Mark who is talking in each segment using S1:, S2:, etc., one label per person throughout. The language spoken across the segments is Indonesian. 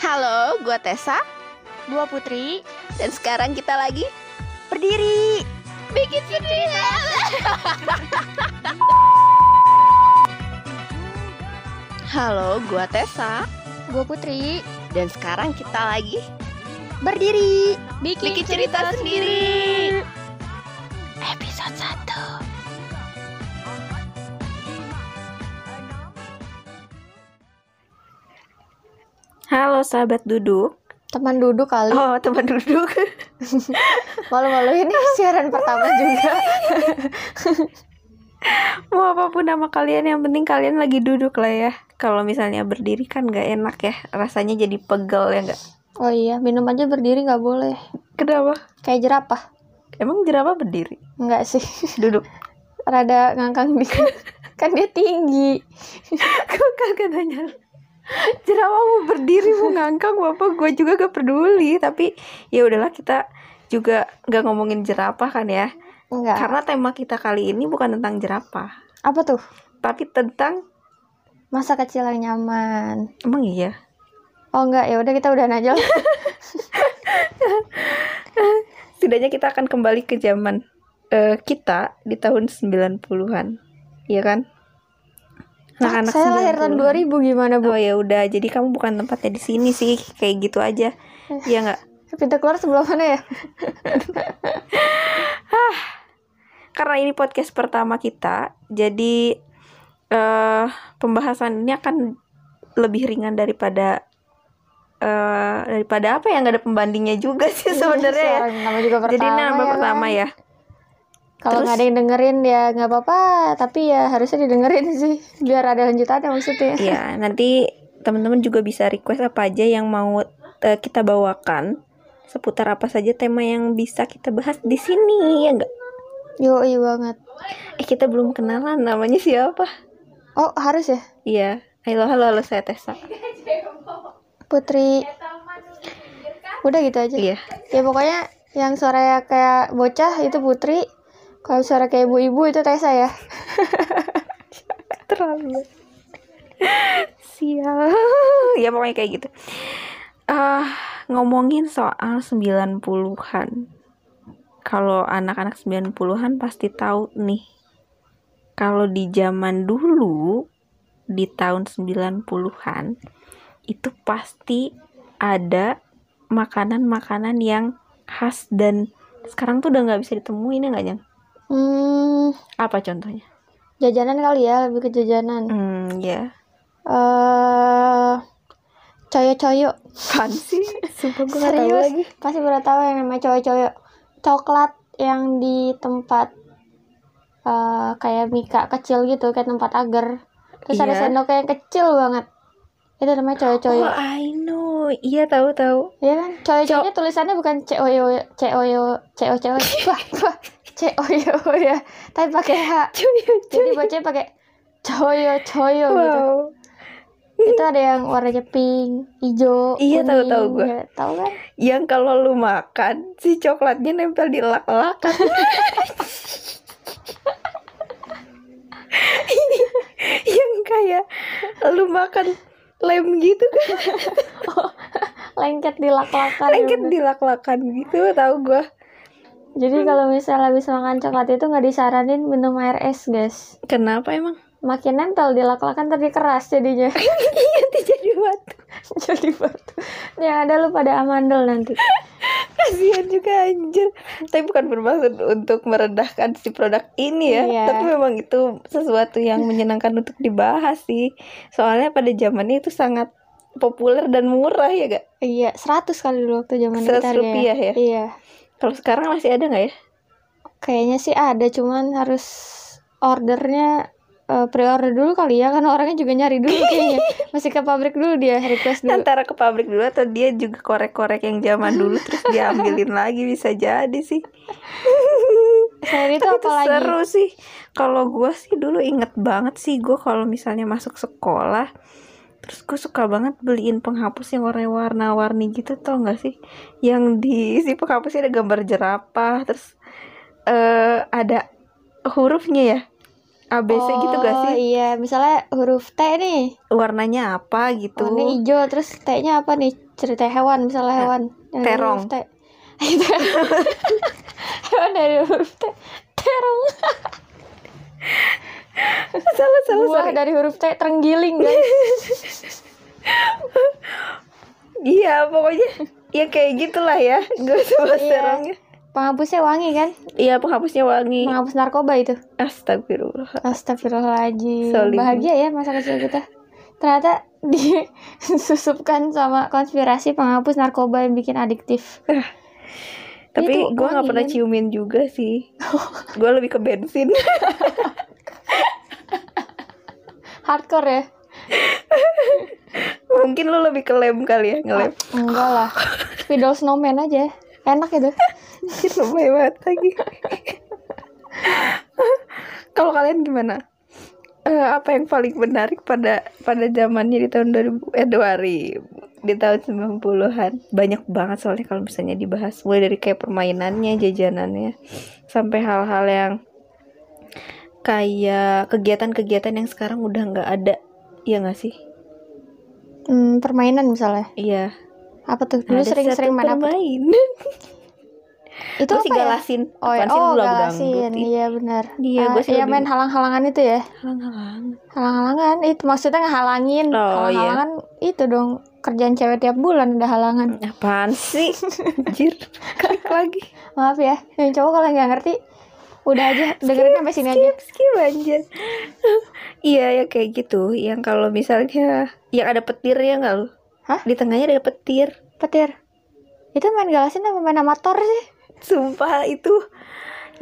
S1: Halo, gue Tessa
S2: Gua Putri
S1: Dan sekarang kita lagi
S2: Berdiri
S1: bikin cerita Halo, gue Tessa
S2: Gua Putri
S1: Dan sekarang kita lagi
S2: Berdiri
S1: bikin, cerita, sendiri. Episode
S3: 1 Halo sahabat duduk
S2: Teman duduk kali
S3: Oh teman duduk
S2: Malu-malu ini siaran pertama juga
S3: Mau apapun nama kalian Yang penting kalian lagi duduk lah ya Kalau misalnya berdiri kan gak enak ya Rasanya jadi pegel ya gak
S2: Oh iya minum aja berdiri nggak boleh
S3: Kenapa?
S2: Kayak jerapah
S3: Emang jerapah berdiri?
S2: Enggak sih
S3: Duduk
S2: Rada ngangkang dikit Kan dia tinggi
S3: Kok kagak nanya Jerapah mau berdiri mau ngangkang Bapak gue juga gak peduli Tapi ya udahlah kita juga gak ngomongin jerapah kan ya
S2: Enggak
S3: Karena tema kita kali ini bukan tentang jerapah
S2: Apa tuh?
S3: Tapi tentang
S2: Masa kecil yang nyaman
S3: Emang iya?
S2: Oh enggak ya udah kita udahan aja lah.
S3: setidaknya kita akan kembali ke zaman eh, kita di tahun 90-an. Iya kan? Anak-anak
S2: Saya lahir tahun
S3: 90-an.
S2: 2000 gimana
S3: Oh
S2: bu?
S3: ya udah, jadi kamu bukan tempatnya di sini sih, kayak gitu aja.
S2: Eh.
S3: Iya nggak?
S2: Pintu keluar sebelah mana ya?
S3: Karena ini podcast pertama kita, jadi eh pembahasan ini akan lebih ringan daripada eh daripada apa ya nggak ada pembandingnya juga sih sebenarnya ya.
S2: Suara Nama juga Iya, pertama
S3: Jadi nama
S2: ya
S3: pertama
S2: kan?
S3: ya.
S2: Kalau
S3: Terus-
S2: nggak ada yang dengerin ya nggak apa-apa, tapi ya harusnya didengerin sih biar ada lanjutannya maksudnya.
S3: Iya, nanti teman-teman juga bisa request apa aja yang mau eh, kita bawakan seputar apa saja tema yang bisa kita bahas di sini ya enggak?
S2: Yo iya banget.
S3: Eh kita belum kenalan namanya siapa?
S2: Oh harus ya
S3: Iya. Halo halo halo saya Tessa.
S2: Putri. Udah gitu aja.
S3: Iya.
S2: Ya pokoknya yang suaranya kayak bocah itu Putri. Kalau suara kayak ibu-ibu itu Tessa ya.
S3: Terlalu. Sial. ya pokoknya kayak gitu. Ah, ngomongin soal 90-an. Kalau anak-anak 90-an pasti tahu nih. Kalau di zaman dulu di tahun 90-an itu pasti ada makanan-makanan yang khas dan sekarang tuh udah nggak bisa ditemuin ya nggak Nyang?
S2: Hmm,
S3: Apa contohnya?
S2: jajanan kali ya lebih ke jajanan.
S3: Hmm, ya.
S2: Eh, coyo-coyo.
S3: Apaan sih? Oh, Sumpah gue nggak tahu
S2: Serius,
S3: lagi.
S2: pasti pernah tahu yang namanya coyo-coyo coklat yang di tempat eh, kayak mika kecil gitu kayak tempat agar terus ada
S3: Iya.
S2: sendoknya yang kecil banget itu namanya coyo-coyo
S3: Oh, I know. Iya, tahu tahu.
S2: Iya kan coyo-coyonya tulisannya bukan c o y o c o y o c o c o wah wah c o y o ya tapi pakai h jadi bacanya pakai E coyo-coyo gitu
S3: Wow.
S2: itu ada yang warnanya pink hijau
S3: Iya, tahu, tahu gua.
S2: ya, tahu kan
S3: Yang kalau lu makan si coklatnya nempel di lak-lakan. yang kayak lu makan lem gitu kan
S2: lengket di lak-lakan
S3: lengket di lak-lakan gitu tahu gua
S2: Jadi kalau misalnya habis makan coklat itu nggak disaranin minum air es, guys.
S3: kenapa emang
S2: Makin nempel di lak-lakan tadi keras jadinya.
S3: nanti Iya, jadi batu
S2: Jadi batu. Yang ada lu pada amandel nanti.
S3: kasihan juga anjir tapi bukan bermaksud untuk merendahkan si produk ini ya
S2: Iya.
S3: tapi memang itu sesuatu yang menyenangkan untuk dibahas sih soalnya pada zamannya itu sangat populer dan murah ya gak
S2: Iya, 100 kali dulu waktu zaman
S3: 100
S2: kita
S3: rupiah ya?
S2: Iya.
S3: kalau sekarang masih ada nggak ya
S2: Kayaknya sih ada, cuman harus ordernya eh, pre-order dulu kali ya karena orangnya juga nyari dulu kayaknya. Masih ke pabrik dulu dia request dulu.
S3: antara ke pabrik dulu atau dia juga korek-korek yang zaman dulu terus dia ambilin lagi bisa jadi sih
S2: Selain itu
S3: tapi
S2: apa
S3: itu
S2: lagi?
S3: seru sih kalau gua sih dulu inget banget sih gua kalau misalnya masuk sekolah terus gue suka banget beliin penghapus yang warna warna-warni gitu tau gak sih yang di si penghapusnya ada gambar jerapah terus eh ada hurufnya ya ABC gitu gak
S2: Oh,
S3: sih?
S2: iya, misalnya huruf T nih.
S3: Warnanya apa gitu?
S2: Warna hijau terus T-nya apa nih? Cerita hewan misalnya hewan. Yang dari
S3: Eh, terong.
S2: huruf T. Itu. hewan dari huruf T. Terong.
S3: salah salah
S2: Buah
S3: sorry.
S2: dari huruf T terenggiling guys.
S3: Iya, pokoknya ya kayak gitulah ya. Gak usah bahas
S2: Iya.
S3: terongnya.
S2: Penghapusnya wangi kan?
S3: Iya, penghapusnya wangi.
S2: Menghapus narkoba itu.
S3: Astagfirullah.
S2: Astagfirullahaladzim.
S3: Solid.
S2: Bahagia ya masa kecil kita. Ternyata disusupkan sama konspirasi penghapus narkoba yang bikin adiktif.
S3: Tapi gue
S2: Itu
S3: nggak
S2: wangi,
S3: pernah
S2: kan?
S3: ciumin juga sih. gue lebih ke bensin.
S2: Hardcore ya?
S3: Mungkin lo lebih ke lem kali ya, ngelem.
S2: Enggak lah. Spidol snowman aja. Enak itu.
S3: Anjir, lebay banget lagi. Kalau kalian gimana? Eh, apa yang paling menarik pada pada zamannya di tahun 2000 eh 2000 di tahun 90-an. Banyak banget soalnya kalau misalnya dibahas mulai dari kayak permainannya, jajanannya sampai hal-hal yang kayak kegiatan-kegiatan yang sekarang udah nggak ada. Iya nggak sih?
S2: Hmm, permainan misalnya.
S3: Iya.
S2: Apa tuh? Dulu
S3: Ada
S2: sering-sering
S3: satu
S2: main apa?
S3: permain.
S2: Itu
S3: Gua
S2: apa
S3: sih
S2: ya?
S3: galasin.
S2: Oh, ya.
S3: Apaan sih
S2: oh
S3: lu lagu
S2: galasin.
S3: dangdut? Ih,
S2: Iya benar.
S3: Iya, gua sih
S2: ya
S3: lebih-
S2: main halang-halangan itu ya.
S3: Halang-halang.
S2: Halang-halangan itu maksudnya ngehalangin.
S3: Oh, iya.
S2: halangan itu dong kerjaan cewek tiap bulan udah halangan.
S3: Hmm, Apaan sih? Anjir. Klik lagi.
S2: Maaf ya, yang cowok kalau nggak ngerti udah aja dengerin sampai sini aja.
S3: Skip, skip anjir. iya, ya kayak gitu. Yang kalau misalnya yang ada petirnya nggak lu?
S2: Hah?
S3: Di tengahnya ada petir.
S2: Petir. Itu main galasin apa main amator sih?
S3: Sumpah itu.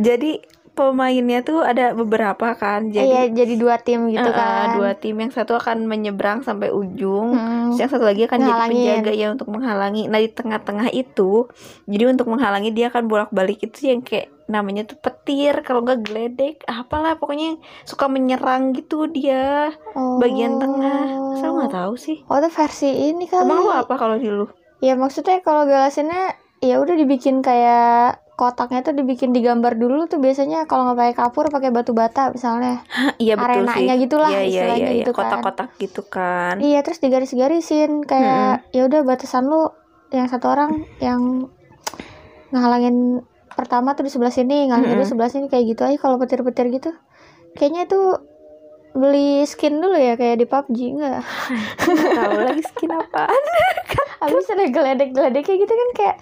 S3: Jadi pemainnya tuh ada beberapa kan. Jadi
S2: Iya, jadi dua tim gitu
S3: eh, eh,
S2: kan.
S3: dua tim yang satu akan menyeberang sampai ujung. Terus
S2: Hmm.
S3: yang satu lagi akan jadi
S2: Menghalangin.
S3: penjaga ya untuk menghalangi. Nah di tengah-tengah itu, jadi untuk menghalangi dia akan bolak-balik itu yang kayak namanya tuh petir, kalau nggak geledek, apalah pokoknya suka menyerang gitu dia
S2: Oh.
S3: bagian tengah. Masa lu nggak tahu sih?
S2: Oh, itu versi ini kali.
S3: Emang lu apa kalau di lu?
S2: Ya maksudnya kalau galasinnya ya udah dibikin kayak kotaknya tuh dibikin digambar dulu tuh biasanya kalau nggak pakai kapur pakai batu bata misalnya.
S3: Hah, iya betul
S2: Arenanya
S3: sih.
S2: gitulah
S3: iya, iya,
S2: istilahnya
S3: iya, iya.
S2: gitu kan.
S3: kotak-kotak gitu kan.
S2: Iya, terus digaris-garisin kayak ya udah batasan lu yang satu orang yang ngehalangin pertama tuh di sebelah sini, ngehalangin di
S3: Mm-mm.
S2: sebelah sini kayak gitu aja kalau petir-petir gitu. Kayaknya itu beli skin dulu ya kayak di PUBG enggak?
S3: Nggak tahu lagi skin apaan.
S2: Habis ada geledek-geledeknya gitu kan kayak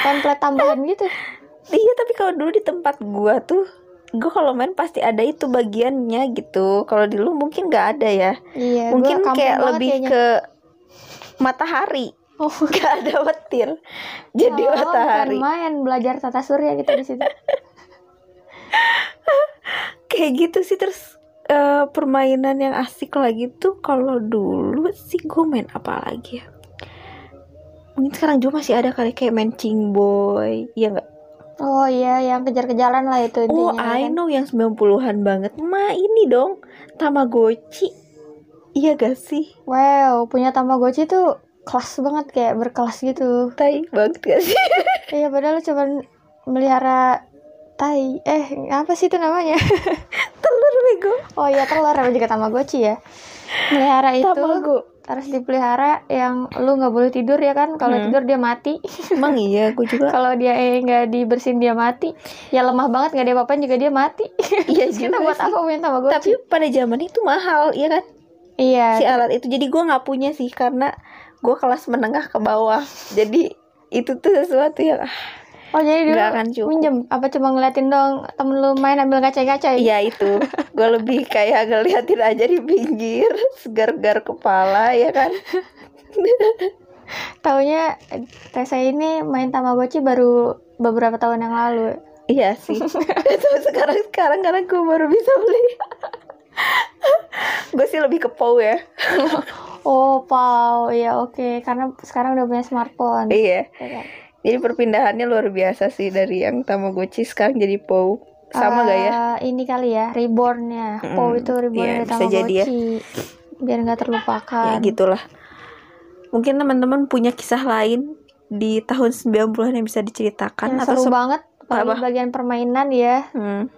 S2: template tambahan gitu.
S3: Iya tapi kalau dulu di tempat gua tuh Gue kalau main pasti ada itu bagiannya gitu Kalau di lu mungkin nggak ada ya
S2: Iya, gua
S3: mungkin
S2: kampung
S3: kayak
S2: banget
S3: lebih
S2: kayaknya.
S3: ke matahari
S2: Oh.
S3: nggak ada petir jadi
S2: Kalau orang
S3: matahari
S2: bukan main Ya belajar tata surya gitu di situ.
S3: kayak gitu sih terus eh, permainan yang asik lagi tuh kalau dulu sih gue main apa lagi ya mungkin sekarang juga masih ada kali kayak main cingboy ya nggak
S2: Oh iya, yang kejar-kejaran lah itu
S3: oh
S2: intinya.
S3: I
S2: kan.
S3: know yang 90-an banget ma ini dong tamagotchi iya gak sih
S2: Wow, punya Tamagotchi tuh kelas banget kayak berkelas gitu.
S3: tai banget gak sih
S2: Iya, padahal lu cuman melihara tai. Eh, apa sih itu namanya?
S3: telur bego
S2: Oh iya, telur apa juga Tamagotchi ya. Melihara itu
S3: tamago
S2: harus dipelihara yang lu nggak boleh tidur ya kan. Kalau
S3: Hmm.
S2: tidur dia mati.
S3: emang iya gue juga
S2: Kalau dia eh, nggak dibersihin dia mati. Ya lemah banget nggak dia apa juga dia mati.
S3: iya
S2: Terus kita
S3: juga
S2: buat
S3: sih.
S2: apa punya Tamagotchi?
S3: tapi pada zaman itu mahal ya kan
S2: iya.
S3: si alat itu jadi gue nggak punya sih karena gue kelas menengah ke bawah jadi itu tuh sesuatu yang ah,
S2: Oh jadi dulu
S3: nggak akan cukup
S2: minjem apa cuma ngeliatin dong temen lu main ambil kaca-kaca ya?
S3: Iya itu, gue lebih kayak ngeliatin aja di pinggir, segar-gar kepala ya kan.
S2: Taunya eh, Tessa ini main Tamagotchi baru beberapa tahun yang lalu.
S3: Iya sih. Tapi sekarang sekarang karena gue baru bisa beli. gue sih lebih ke Pou ya.
S2: Oh, Pau. Iya, oke. Karena sekarang udah punya smartphone.
S3: Iya.
S2: Ya kan?
S3: Jadi perpindahannya luar biasa sih dari yang Tamagotchi sekarang jadi Pou. Sama gak ya?
S2: Eh, Ini kali ya, reborn-nya. Pau
S3: Mm,
S2: itu reborn
S3: iya,
S2: dari
S3: bisa jadi ya.
S2: Tamagotchi. Biar nggak terlupakan.
S3: ya gitulah mungkin teman-teman punya kisah lain di tahun 90-an yang bisa diceritakan
S2: Yang
S3: Kan atau
S2: seru
S3: se-
S2: banget. Apalagi
S3: apa?
S2: bagian permainan ya.
S3: Hmm.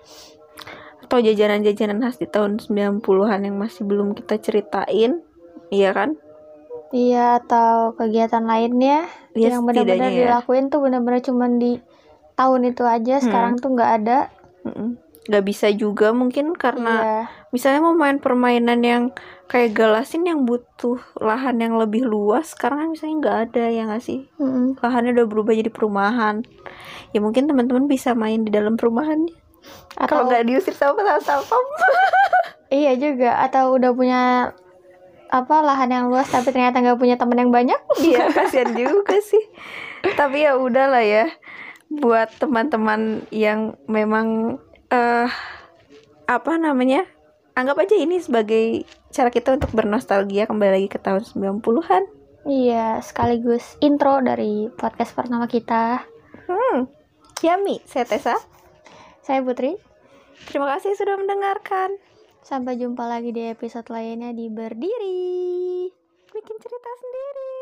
S3: atau jajanan-jajanan khas di tahun 90-an yang masih belum kita ceritain, iya kan?
S2: Iya atau kegiatan lainnya
S3: Iya,
S2: yang benar-benar
S3: setidaknya ya.
S2: dilakuin tuh benar-benar cuman di tahun itu aja.
S3: Hmm.
S2: Sekarang tuh nggak ada.
S3: Mm-mm. Nggak bisa juga mungkin karena
S2: Iya.
S3: misalnya mau main permainan yang kayak galasin yang butuh lahan yang lebih luas sekarang kan misalnya nggak ada ya nggak sih
S2: Mm-mm.
S3: lahannya udah berubah jadi perumahan ya mungkin teman-teman bisa main di dalam perumahan
S2: Atau
S3: kalau nggak diusir sama sama
S2: iya juga. Atau udah punya apa lahan yang luas tapi ternyata nggak punya temen yang banyak.
S3: Iya kasihan juga sih Tapi ya udahlah ya Buat teman-teman yang memang eh Apa namanya Anggap aja ini sebagai cara kita untuk bernostalgia kembali lagi ke tahun 90-an
S2: Iya, sekaligus intro dari podcast pertama kita.
S3: Hmm Yummy, saya Tessa
S2: Saya Putri.
S3: Terima kasih sudah mendengarkan
S2: Sampai jumpa lagi di episode lainnya di Berdiri.
S3: Bikin cerita sendiri